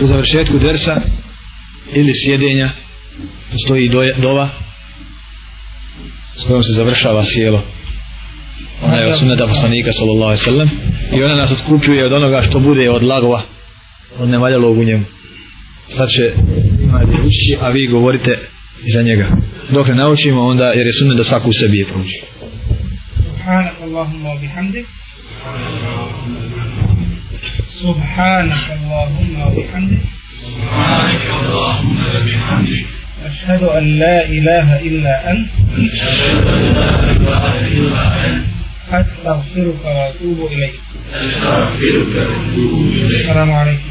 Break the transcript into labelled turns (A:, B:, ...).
A: po završetku dersa ili sjedenja da stoji doje, dova s kojom se završava sjelo ona je od sunneta poslanika sallallahu alaihi sallam i ona nas otkupljuje od onoga što bude od lagova od nevaljalog u njemu sad će imati učiti a vi govorite iza njega dok ne naučimo onda jer je sunnet da svaku u sebi je pruži
B: سبحانك اللهم وبحمدك سبحانك اللهم وبحمدك
C: سبحانك اللهم وبحمدك
B: أشهد أن لا إله إلا أنت
C: أشهد أن لا إله إلا أنت
B: أستغفرك وأتوب إليك
C: أستغفرك وأتوب إليك
B: السلام عليكم